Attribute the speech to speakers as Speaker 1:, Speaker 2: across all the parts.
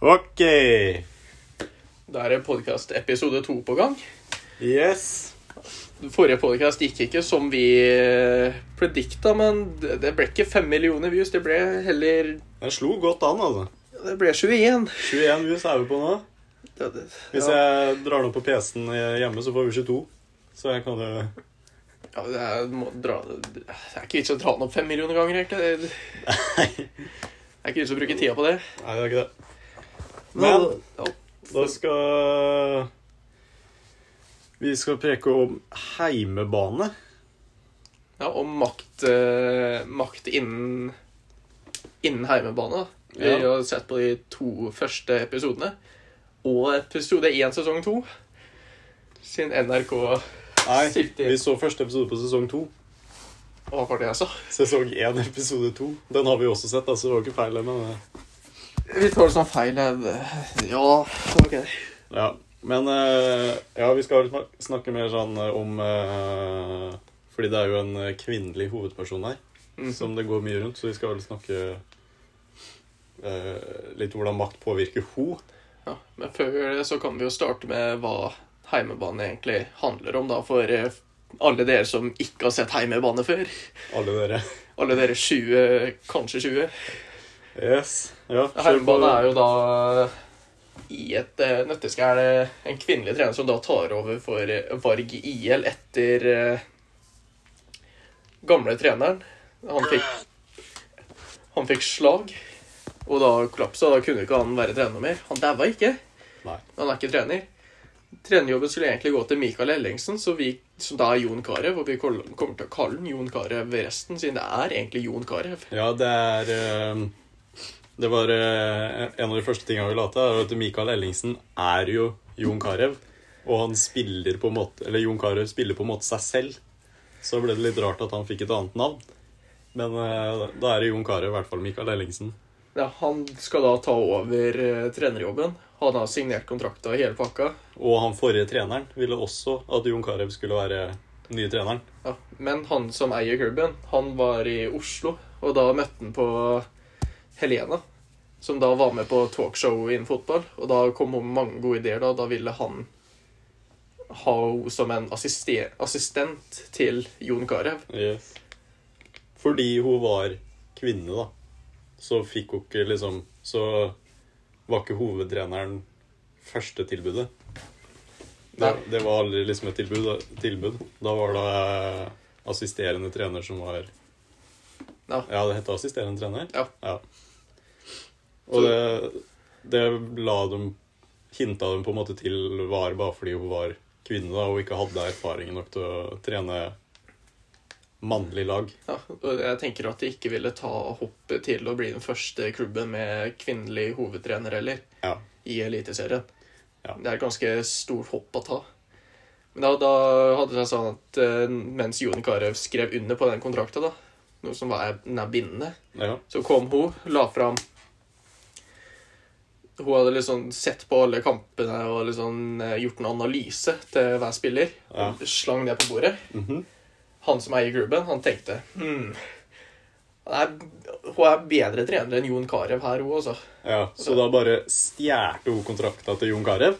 Speaker 1: Ok.
Speaker 2: Da er det podkast episode to på gang.
Speaker 1: Yes.
Speaker 2: Forrige podkast gikk ikke som vi eh, predikta, men det det ble ikke fem millioner views. Det ble heller
Speaker 1: Den slo godt an, altså.
Speaker 2: Det ble 21.
Speaker 1: 21 views er vi på nå.
Speaker 2: Det, det,
Speaker 1: Hvis
Speaker 2: ja.
Speaker 1: jeg drar den opp på PC-en hjemme, så får vi 22. Så jeg kan jo
Speaker 2: Ja, det, er, må dra, det er ikke vits i å dra den opp fem millioner ganger, egentlig. Det,
Speaker 1: Nei,
Speaker 2: det er ikke vits i å bruke tida på det.
Speaker 1: det er ikke det. Men
Speaker 2: ja,
Speaker 1: da skal Vi skal preke om heimebane.
Speaker 2: ja, og makt, eh, makt innen, innen heimebane. da. Vi
Speaker 1: Ja.
Speaker 2: har sett på de to første episodene. Og episode én sesong to. Siden NRK Hva
Speaker 1: Nei,
Speaker 2: Sykt.
Speaker 1: vi så første episode på sesong to.
Speaker 2: var det jeg sa?
Speaker 1: Sesong én, episode to. Den har vi også sett, altså. Det var ikke feil, det, men eh,
Speaker 2: Vi tar det som feil. Ja, ok.
Speaker 1: Ja, men eh, ja, vi skal snak- snakke mer sånn eh, om eh, Fordi det er jo en eh, kvinnelig hovedperson her, som det går mye rundt, så vi skal vel snakke eh, litt hvordan makt påvirker ho.
Speaker 2: Ja, men før vi gjør det, så kan vi jo starte med hva heimebane egentlig handler om, da, for eh, alle dere som ikke har sett heimebane før.
Speaker 1: Alle dere.
Speaker 2: Alle dere 20, kanskje 20.
Speaker 1: Yes. Ja, kjør på.
Speaker 2: Heimebane er jo da i et eh, nøtteske er det en kvinnelig trener som da tar over for eh, Varg IL etter eh, gamle treneren. Han fikk, han fikk slag, og da kollapsa. Da kunne ikke han være trener mer. Han daua ikke.
Speaker 1: Nei.
Speaker 2: Han er ikke trener. Trenerjobben skulle egentlig gå til Mikael Ellingsen, så vi, som da er Jon Carew. Og vi kol- kommer til å kalle han Jon Carew resten, siden det er egentlig Jon Carew.
Speaker 1: Ja, det er eh, Det var eh, en av de første tingene vi la til, er jo at Mikael Ellingsen er jo Jon Carew. Og han spiller på en måte Eller Jon Carew spiller på en måte seg selv. Så ble det litt rart at han fikk et annet navn. Men eh, da er det Jon Carew, i hvert fall Mikael Ellingsen.
Speaker 2: Ja, han skal da ta over eh, trenerjobben. Han har signert kontrakta i hele pakka.
Speaker 1: Og han forrige treneren ville også at Jon Carew skulle være den nye treneren.
Speaker 2: Ja, men han som eier klubben, han var i Oslo, og da møtte han på Helena. Som da var med på talkshow innen fotball, og da kom hun med mange gode ideer. Da, da ville han ha henne som en assiste- assistent til Jon Carew.
Speaker 1: Yes. Fordi hun var kvinne, da, så fikk hun ikke liksom Så var ikke hovedtreneren første tilbudet. Det,
Speaker 2: Nei.
Speaker 1: det var aldri liksom et tilbud. Da, tilbud. da var det eh, assisterende trener som var
Speaker 2: Ja.
Speaker 1: Ja, det het assisterende trener?
Speaker 2: Ja.
Speaker 1: Og det, det la dem Hinta dem på en måte til var bare fordi hun var kvinne da, og ikke hadde erfaring nok til å trene mannlig lag.
Speaker 2: Ja, og jeg tenker at de ikke ville ta hoppet til å bli den første klubben med kvinnelig hovedtrener heller
Speaker 1: Ja.
Speaker 2: i Eliteserien.
Speaker 1: Ja.
Speaker 2: Det er et ganske stort hopp å ta. Men da, da hadde det seg sånn at eh, mens Jon Carew skrev under på den kontrakta, da, noe som var, den er bindende,
Speaker 1: Ja.
Speaker 2: så kom hun, la fram Hun hadde liksom sett på alle kampene og liksom eh, gjort en analyse til hver spiller.
Speaker 1: Ja.
Speaker 2: Og slang det på bordet.
Speaker 1: Mhm.
Speaker 2: Han som eier klubben, han tenkte hmm, han er, Hun er bedre trener enn Jon Carew her, hun, altså.
Speaker 1: ja. Så da bare stjerte hun kontrakta til Jon Carew.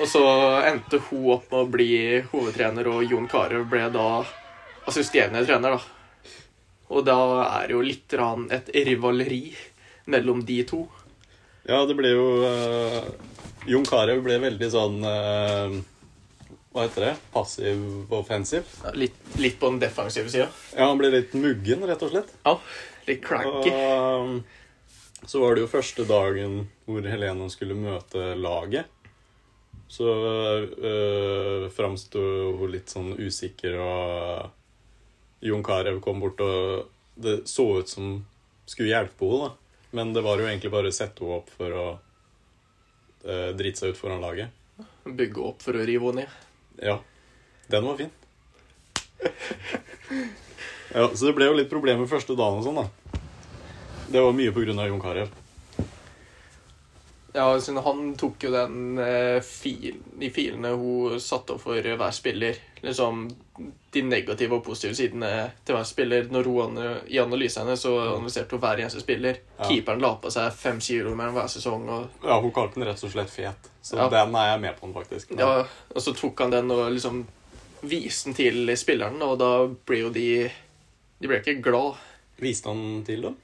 Speaker 2: Og så endte hun opp med å bli hovedtrener, og Jon Carew ble da assisterende trener, da. Og da er det jo litt grann et rivaleri mellom de to.
Speaker 1: Ja, det ble jo eh, Jon Carew ble veldig sånn eh, Hva heter det? Passiv offensiv.
Speaker 2: Litt, litt på den defensive sida.
Speaker 1: Ja, han ble litt muggen, rett og slett.
Speaker 2: Ja, litt
Speaker 1: Og,
Speaker 2: cranky.
Speaker 1: eh, så var det jo første dagen hvor Helene skulle møte laget. Så øh, framsto hun litt sånn usikker, og Jon Carew kom bort, og det så ut som skulle hjelpe henne, da. Men det var jo egentlig bare å sette henne opp for å øh, drite seg ut foran laget.
Speaker 2: Bygge opp for å rive henne ned.
Speaker 1: Ja. Den var fin. ja, så det ble jo litt problemer første dagen og sånn, da. Det var mye på grunn av Jon Carew.
Speaker 2: Ja, siden han tok jo den eh, fil, de filene hun satte opp for hver spiller. Liksom de negative og positive sidene til hver spiller. Når hun ana- I analysene så analyserte hun hver eneste spiller.
Speaker 1: Ja.
Speaker 2: Keeperen la på seg fem kilo mellom hver sesong. og
Speaker 1: Ja, hun kalte den rett og slett fet. Så
Speaker 2: Ja.
Speaker 1: den er jeg med på, den faktisk.
Speaker 2: Ja, og så tok han den og liksom viste den til spilleren, og da ble jo de De ble ikke glad.
Speaker 1: Viste han til dem?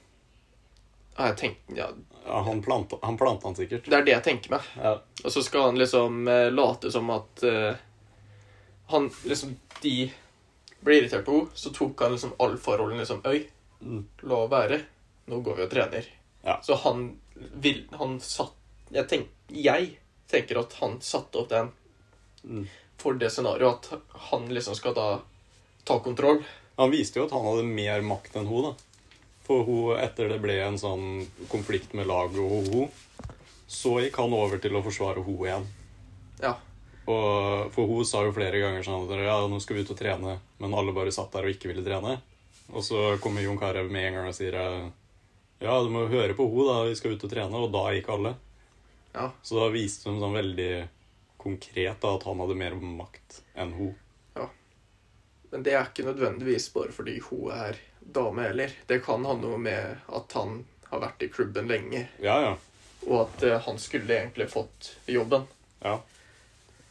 Speaker 2: Ja, Jeg tenkte, ja,
Speaker 1: Ja, han planta han, planta han sikkert.
Speaker 2: det er det jeg tenker meg.
Speaker 1: Ja.
Speaker 2: Og så skal han liksom eh, late som at eh, han liksom De ble irritert på henne, så tok han liksom all forholden liksom Øy,
Speaker 1: Mm.
Speaker 2: la være. Nå går vi og trener.
Speaker 1: Ja.
Speaker 2: Så han vil Han satt jeg, tenk, jeg tenker at han satte opp den
Speaker 1: Mm.
Speaker 2: for det scenarioet at han liksom skal da ta kontroll.
Speaker 1: Han viste jo at han hadde mer makt enn hun, da. For hun, etter det ble en sånn konflikt med laget og hun, så gikk han over til å forsvare hun igjen.
Speaker 2: Ja.
Speaker 1: Og, for hun sa jo flere ganger sånn at ja, nå skal vi ut og trene, men alle bare satt der og ikke ville trene. Og så kommer Jon Carew med en gang og sier ja, du må høre på hun da, vi skal ut og trene, og da gikk alle.
Speaker 2: Ja.
Speaker 1: Så da viste hun sånn veldig konkret da, at han hadde mer makt enn hun.
Speaker 2: Men det er ikke nødvendigvis bare fordi hun er dame heller. Det kan ha noe med at han har vært i klubben lenge,
Speaker 1: Ja, ja.
Speaker 2: og at eh, han skulle egentlig fått jobben.
Speaker 1: Ja.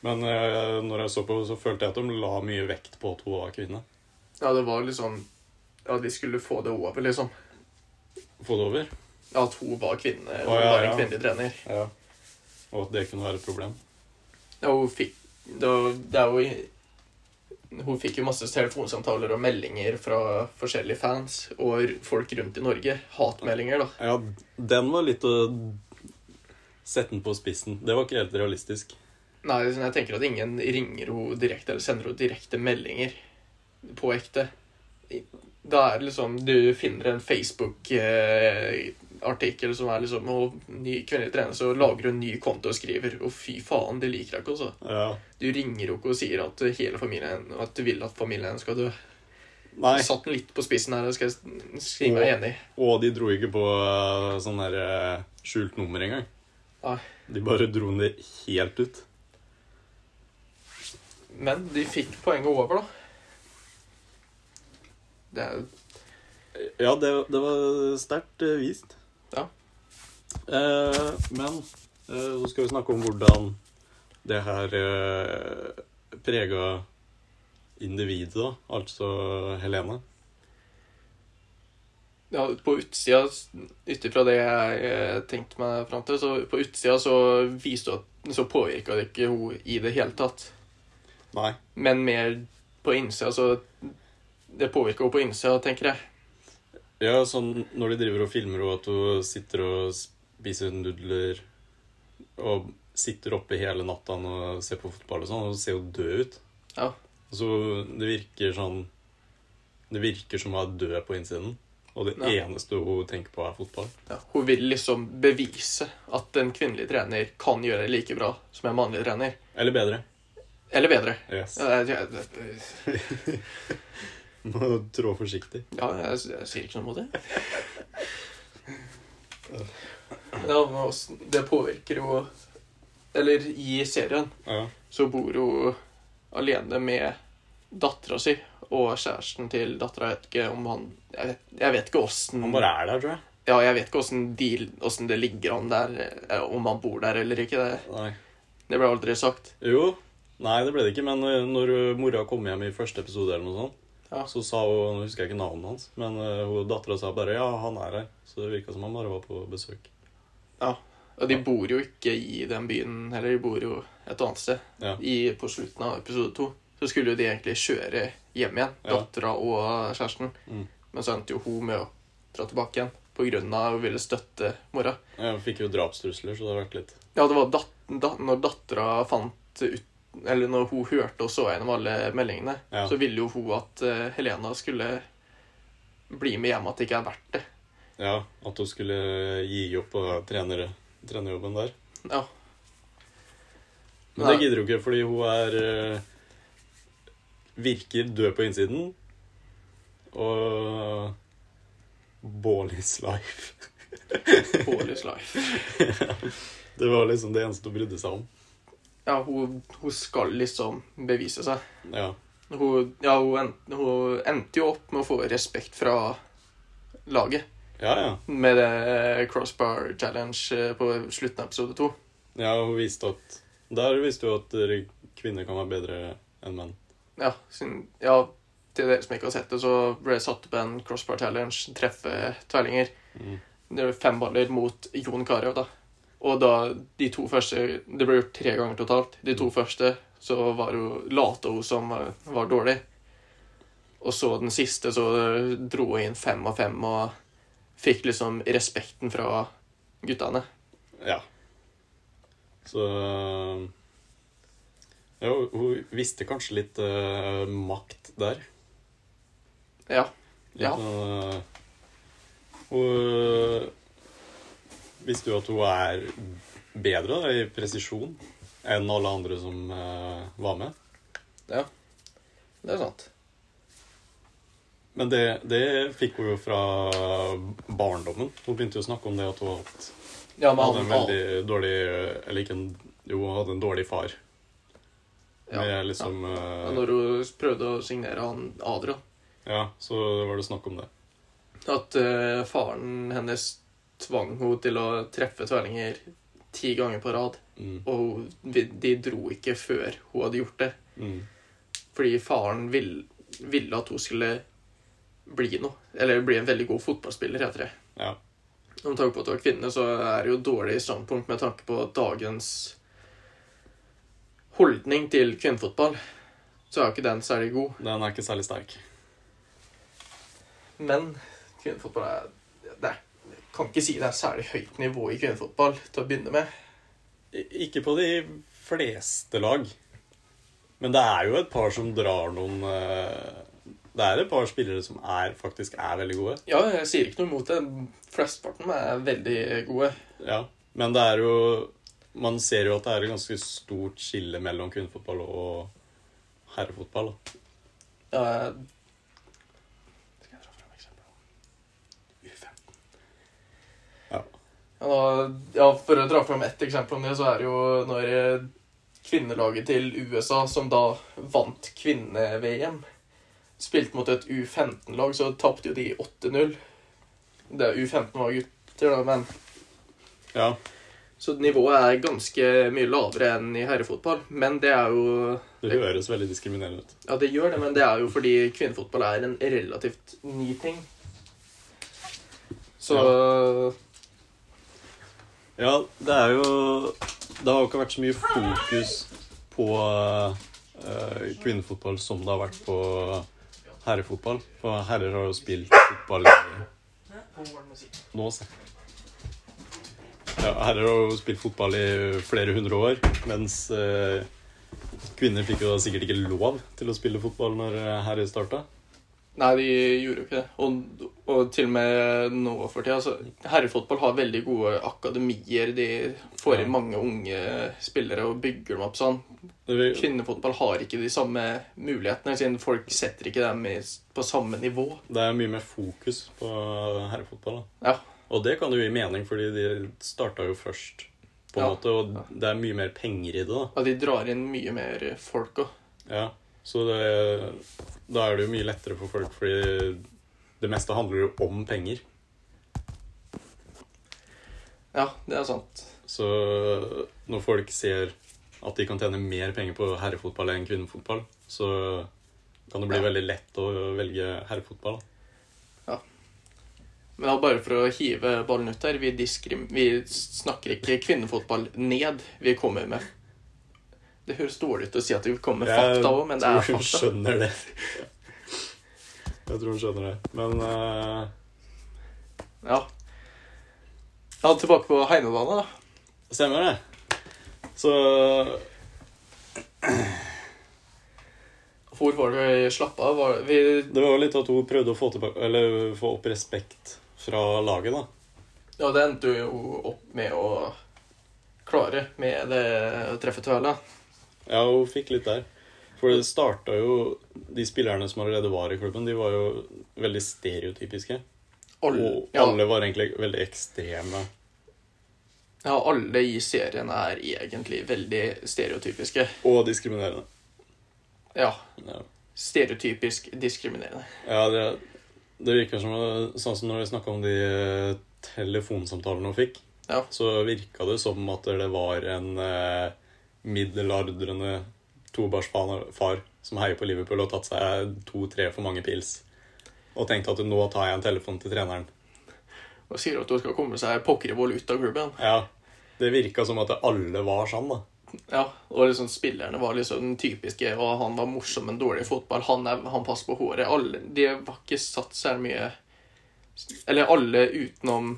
Speaker 1: Men eh, når jeg så på, så følte jeg at de la mye vekt på at hun var kvinne.
Speaker 2: Ja, det var liksom Ja, de skulle få det over, liksom.
Speaker 1: Få det over.
Speaker 2: Ja, At hun var kvinne, og
Speaker 1: Å, ja,
Speaker 2: var
Speaker 1: ja.
Speaker 2: en kvinnelig trener.
Speaker 1: Ja. Og at det kunne være et problem.
Speaker 2: Ja, hun fikk det, var- det er jo Hun fikk jo masse telefonsamtaler og meldinger fra forskjellige fans og r- folk rundt i Norge. Hatmeldinger, da.
Speaker 1: Ja, den var litt å sette den på spissen. Det var ikke helt realistisk.
Speaker 2: Nei, sånn, jeg tenker at ingen ringer henne direkte eller sender henne direkte meldinger på ekte. I- Da er det liksom Du finner en Facebook-artikkel som er liksom «Å, ny kvinnelig trener, så lager hun ny konto og skriver. Å, fy faen, det liker jeg ikke, altså.
Speaker 1: Ja.
Speaker 2: Du ringer henne ikke og sier at hele familien At du vil at familien hennes skal dø.
Speaker 1: Nei,
Speaker 2: Jeg satt den litt på spissen her, og skal jeg s- skrive meg enig.
Speaker 1: og de dro ikke på eh, sånn der eh, skjult nummer engang.
Speaker 2: Nei.
Speaker 1: De bare dro det helt ut.
Speaker 2: Men de fikk poenget over, da. Det er
Speaker 1: Ja, det, det var sterkt eh, vist.
Speaker 2: Ja.
Speaker 1: Eh, men eh, så skal vi snakke om hvordan det her eh, prega individet, da. Altså Helene.
Speaker 2: Ja, på utsida, ut ifra det jeg eh, tenkte meg fram til, så på utsida så viste det at så påvirka det ikke henne i det hele tatt.
Speaker 1: Nei.
Speaker 2: Men mer på innsida, så Det påvirka henne på innsida, tenker jeg.
Speaker 1: Ja, sånn når de driver og filmer og at hun sitter og spiser nudler og sitter oppe hele natta og ser på fotball og sånn, og ser jo død ut.
Speaker 2: Ja.
Speaker 1: Så det virker sånn Det virker som hun er død på innsiden. Og det
Speaker 2: Ja.
Speaker 1: eneste hun tenker på, er fotball.
Speaker 2: Ja, hun vil liksom bevise at en kvinnelig trener kan gjøre det like bra som en mannlig trener.
Speaker 1: Eller bedre.
Speaker 2: Eller bedre.
Speaker 1: Yes.
Speaker 2: Ja, jeg, jeg, jeg,
Speaker 1: Må trå forsiktig.
Speaker 2: ja, jeg, jeg sier ikke noe mot det. Ja, men også- det påvirker jo Eller i serien
Speaker 1: Ja.
Speaker 2: så bor hun alene med dattera si og kjæresten til dattera. Jeg vet ikke om han Jeg vet, jeg vet ikke åssen
Speaker 1: Han bare er der, tror jeg.
Speaker 2: ja, jeg vet ikke åssen de- åssen det ligger an der, eh, om han bor der eller ikke. Det,
Speaker 1: Nei.
Speaker 2: det ble aldri sagt.
Speaker 1: Jo. Nei, det ble det ikke, men eh, når eh, mora kom hjem i første episode, eller noe sånt,
Speaker 2: Ja.
Speaker 1: så sa hun Nå husker jeg ikke navnet hans, men uh, dattera sa bare 'ja, han er her'. Så det virka som han bare var på besøk.
Speaker 2: Ja. Og de bor jo ikke i den byen heller, de bor jo et annet sted.
Speaker 1: Ja.
Speaker 2: I, på slutten av episode to så skulle jo de egentlig kjøre hjem igjen,
Speaker 1: Ja.
Speaker 2: dattera og kjæresten.
Speaker 1: Mm.
Speaker 2: Men så endte jo hun med å dra tilbake igjen på grunn av å ville støtte mora.
Speaker 1: Jeg fikk jo drapstrusler, så det har vært litt
Speaker 2: Ja, det var dat da når dattera fant ut Eller når hun hørte og så gjennom alle meldingene,
Speaker 1: Ja.
Speaker 2: så ville jo hun at eh, Helena skulle bli med hjem, at det ikke er verdt det.
Speaker 1: Ja, at hun skulle eh, gi opp og trenere, trenerjobben der.
Speaker 2: Ja.
Speaker 1: Men det gidder hun ikke, fordi hun er eh, Virker død på innsiden. Og Bålis life.
Speaker 2: Paul is life.
Speaker 1: Det var liksom det eneste hun brydde seg om.
Speaker 2: Ja, hun, hun skal liksom bevise seg.
Speaker 1: Ja.
Speaker 2: Hun, ja, hun, en- hun endte jo opp med å få respekt fra laget
Speaker 1: Ja, ja.
Speaker 2: med det eh, crossbar challenge eh, på slutten av episode to.
Speaker 1: ja hun viste at Der viste hun at eh, kvinner kan være bedre enn menn.
Speaker 2: Ja, siden, ja, til dere som ikke har sett det, så ble det satt opp en crossbar challenge, treffe tverlinger.
Speaker 1: Mm.
Speaker 2: Det var fem baller mot Jon Carew, da. Og da de to første Det ble gjort tre ganger totalt. De to første så var hun late hun som eh, var dårlig. Og så den siste, så eh, dro hun inn fem av fem og fikk liksom respekten fra guttene.
Speaker 1: Ja. Så eh, Ja, hun- hun visste kanskje litt eh, makt der.
Speaker 2: Ja.
Speaker 1: Litt
Speaker 2: Ja.
Speaker 1: sånn, eh, hun visste jo at hun er bedre da, i presisjon enn alle andre som eh, var med.
Speaker 2: Det er sant.
Speaker 1: Men det, det fikk hun jo fra barndommen. Hun begynte jo å snakke om det at hun hatt-
Speaker 2: Ja, men
Speaker 1: hadde
Speaker 2: han,
Speaker 1: en veldig dårlig Eller ikke en Jo, hun hadde en dårlig far.
Speaker 2: Ja,
Speaker 1: Med liksom eh,
Speaker 2: ja, Når hun prøvde å signere han Adrian
Speaker 1: Ja, så var det snakk om det.
Speaker 2: At eh, faren hennes tvang henne til å treffe tverlinger ti ganger på rad.
Speaker 1: Mm.
Speaker 2: Og hun- vi- de dro ikke før hun hadde gjort det.
Speaker 1: Mm.
Speaker 2: Fordi faren vil, ville at hun skulle bli noe. Eller bli en veldig god fotballspiller, heter det.
Speaker 1: Ja.
Speaker 2: Om tanke på at hun er kvinne, så er det jo dårlig standpunkt med tanke på dagens holdning til kvinnefotball. Så er jo ikke den særlig god.
Speaker 1: Den er ikke særlig sterk.
Speaker 2: Men kvinnefotball er det er, jeg kan ikke si det er særlig høyt nivå i kvinnefotball til å begynne med.
Speaker 1: I- Ikke på de fleste lag. Men det er jo et par som drar noen eh, Det er et par spillere som er, faktisk er veldig gode.
Speaker 2: Ja, jeg sier ikke noe imot det. Flesteparten er veldig gode.
Speaker 1: Ja, men det er jo Man ser jo at det er et ganske stort skille mellom kvinnefotball og herrefotball. da.
Speaker 2: Eh, Skal jeg dra frem eksempel? U15.
Speaker 1: Ja.
Speaker 2: Ja, da, ja, for å dra frem ett eksempel om det, så er det jo når eh, kvinnelaget til USA, som da vant kvinne-VM, spilte mot et U15-lag, så tapte jo de 8-0. Det er U15 var gutter, da, men
Speaker 1: Ja.
Speaker 2: Så nivået er ganske mye lavere enn i herrefotball. Men det er jo
Speaker 1: Det høres veldig diskriminerende ut.
Speaker 2: Ja, det gjør det, men det er jo fordi kvinnefotball er en relativt ny ting. Så
Speaker 1: Ja, det er jo Det har jo ikke vært så mye fokus på eh, kvinnefotball som det har vært på herrefotball. For herrer har jo spilt fotball i nå, se. Ja, herrer har jo spilt fotball i flere hundre år, mens eh, kvinner fikk jo da sikkert ikke lov til å spille fotball når eh, herrer starta.
Speaker 2: Nei, de gjorde jo ikke det. Og, og til og med nå for tida. så Herrefotball har veldig gode akademier. De får
Speaker 1: Ja.
Speaker 2: inn mange unge spillere og bygger dem opp sånn.
Speaker 1: Det,
Speaker 2: Kvinnefotball har ikke de samme mulighetene, siden folk setter ikke dem i- på samme nivå.
Speaker 1: det er mye mer fokus på herrefotball. da.
Speaker 2: Ja.
Speaker 1: Og det kan jo gi mening, fordi de starta jo først, på en
Speaker 2: Ja.
Speaker 1: måte, og det er mye mer penger i det. da.
Speaker 2: Ja, de drar inn mye mer folk òg.
Speaker 1: Ja, Så det, da er det jo mye lettere for folk, fordi det meste handler jo om penger.
Speaker 2: Ja, det er sant.
Speaker 1: Så når folk ser at de kan tjene mer penger på herrefotball enn kvinnefotball, så kan det bli
Speaker 2: Ja.
Speaker 1: veldig lett å velge herrefotball. da.
Speaker 2: Men da bare for å hive ballen ut der, vi, diskrim, vi snakker ikke kvinnefotball ned. Vi kommer med Det høres dårlig ut å si at vi kommer med fakta òg, men det er
Speaker 1: tror hun
Speaker 2: fakta.
Speaker 1: skjønner det. Jeg tror hun skjønner det. Men eh,
Speaker 2: Ja. ja, tilbake på heimebane, da.
Speaker 1: stemmer det. Så
Speaker 2: Hvor var det vi slapp av? Var, vi,
Speaker 1: det var jo litt at hun prøvde å få, tilbake, eller, få opp respekt fra laget, da.
Speaker 2: ja, det endte jo opp med å klare med det å treffe tøla.
Speaker 1: Ja, hun fikk litt der. For det starta jo De spillerne som allerede var i klubben, de var jo veldig stereotypiske.
Speaker 2: Alle,
Speaker 1: Og
Speaker 2: ja,
Speaker 1: alle var egentlig veldig ekstreme.
Speaker 2: Ja, alle i serien er egentlig veldig stereotypiske.
Speaker 1: Og diskriminerende.
Speaker 2: Ja,
Speaker 1: Ja,
Speaker 2: stereotypisk diskriminerende.
Speaker 1: ja det, det virker som eh, Sånn som når vi snakka om de eh, telefonsamtalene hun fikk,
Speaker 2: Ja.
Speaker 1: så virka det som at det var en eh, middelaldrende tobarnsfar far som heier på Liverpool og tatt seg to-tre for mange pils. Og tenkte at nå tar jeg en telefon til treneren.
Speaker 2: Og sier at hun skal komme seg pokker i vold ut av klubben.
Speaker 1: Ja, Det virka som at alle var sånn, da.
Speaker 2: Ja, og liksom spillerne var liksom den typiske, og han var morsom, men dårlig i fotball. Han, er, han passer på håret. Alle, de var ikke satt så her mye Eller alle utenom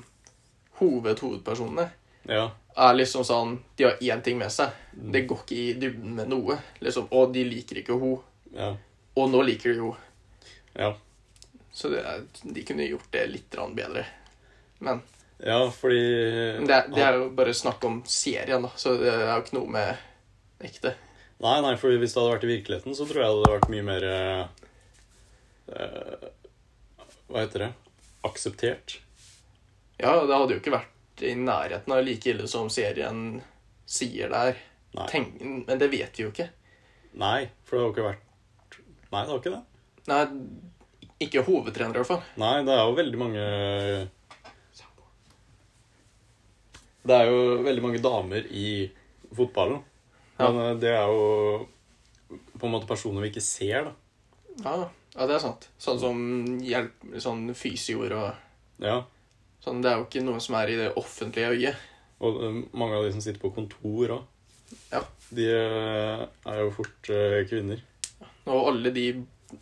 Speaker 2: hovedhovedpersonene
Speaker 1: Ja,
Speaker 2: er liksom sånn De har én ting med seg. Det går ikke i dybden med noe. liksom, Og de liker ikke ho.
Speaker 1: ja,
Speaker 2: Og nå liker de ho.
Speaker 1: ja.
Speaker 2: Så det er, de kunne gjort det litt grann bedre. Men
Speaker 1: ja fordi
Speaker 2: det, er- det er jo bare snakk om serien, da, så det er jo ikke noe med ekte.
Speaker 1: Nei, nei, for hvis det hadde vært i virkeligheten, så tror jeg det hadde vært mye mer eh, Hva heter det? Akseptert.
Speaker 2: Ja, det hadde jo ikke vært i nærheten av like ille som serien sier det er.
Speaker 1: Nei.
Speaker 2: Tenk, men det vet vi jo ikke.
Speaker 1: Nei, for det har jo ikke vært Nei, det har ikke det.
Speaker 2: Nei, ikke hovedtrener i hvert fall.
Speaker 1: Nei, det er jo veldig mange Det er jo veldig mange damer i fotballen.
Speaker 2: Ja.
Speaker 1: Men eh, det er jo på en måte personer vi ikke ser, da.
Speaker 2: Ja, ja det er sant. Sånn som hjelp, sånn fysioer og
Speaker 1: Ja.
Speaker 2: sånn. Det er jo ikke noe som er i det offentlige øyet.
Speaker 1: Og eh, mange av de som sitter på kontor òg,
Speaker 2: Ja.
Speaker 1: de eh, er jo fort eh, kvinner.
Speaker 2: Og alle de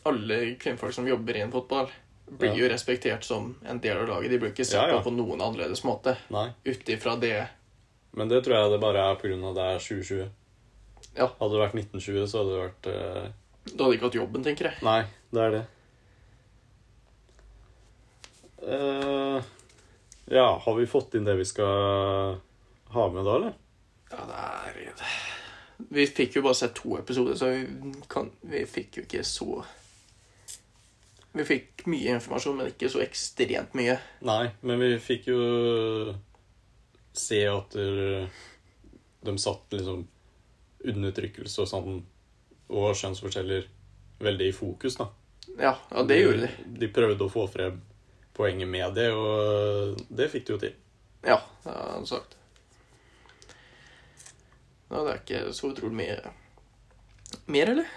Speaker 2: alle kvinnfolk som jobber innen fotball, blir
Speaker 1: Ja.
Speaker 2: jo respektert som en del av laget. De blir ikke sett
Speaker 1: Ja, ja.
Speaker 2: på på noen annerledes måte
Speaker 1: Nei.
Speaker 2: ut ifra det
Speaker 1: Men det tror jeg det bare er pga. det er 2020.
Speaker 2: Ja.
Speaker 1: Hadde det vært 1920, så hadde det vært eh,
Speaker 2: Du hadde ikke hatt jobben, tenker jeg.
Speaker 1: Nei, det er det. Eh, ja, har vi fått inn det vi skal ha med da, eller?
Speaker 2: Ja, det er Vi fikk jo bare sett to episoder, så vi, kan, vi fikk jo ikke så Vi fikk mye informasjon, men ikke så ekstremt mye.
Speaker 1: Nei, men vi fikk jo se at der- de satt liksom undertrykkelse og sånn, og skjønnsforskjeller veldig i fokus, da.
Speaker 2: Ja, ja det gjorde de.
Speaker 1: De prøvde å få frem poenget med det, og det fikk de jo til.
Speaker 2: Ja, det har han sagt. Ja, det er ikke så utrolig mye mer, eller?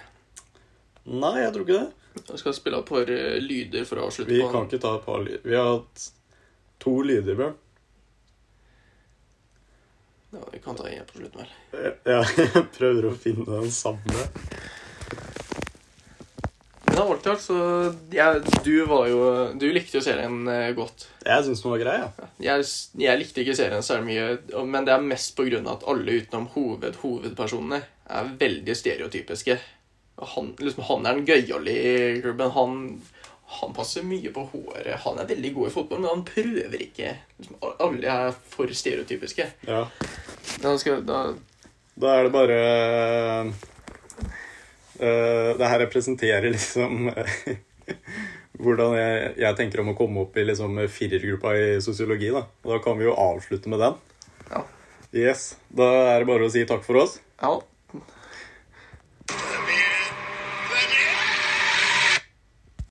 Speaker 1: Nei, jeg tror ikke det.
Speaker 2: Jeg skal spille et par eh, lyder for å avslutte
Speaker 1: Vi
Speaker 2: på
Speaker 1: kan ikke ta et par lyder. Vi har hatt to lyder, Bjørn.
Speaker 2: Ja, vi kan ta en på slutten, vel.
Speaker 1: Jeg, Eh, jeg prøver å finne den samme.
Speaker 2: Men alt i alt, så jeg, Du var jo Du likte jo serien eh, godt.
Speaker 1: Jeg syns den var grei, jeg.
Speaker 2: Jeg, jeg likte ikke serien særlig mye, og- men det er mest på grunn av at alle utenom hoved, hovedpersonene er veldig stereotypiske. Og Han, liksom, han er den gøyale i klubben. Han, han passer mye på håret. Han er veldig god i fotball, men han prøver ikke. Liksom, alle er for stereotypiske.
Speaker 1: Ja.
Speaker 2: Da skal, da,
Speaker 1: Da er det bare eh, Det her representerer liksom eh, hvordan jeg, jeg tenker om å komme opp i liksom firergruppa i sosiologi. Da Og da kan vi jo avslutte med den.
Speaker 2: ja.
Speaker 1: Yes. Da er det bare å si takk for oss.
Speaker 2: ja.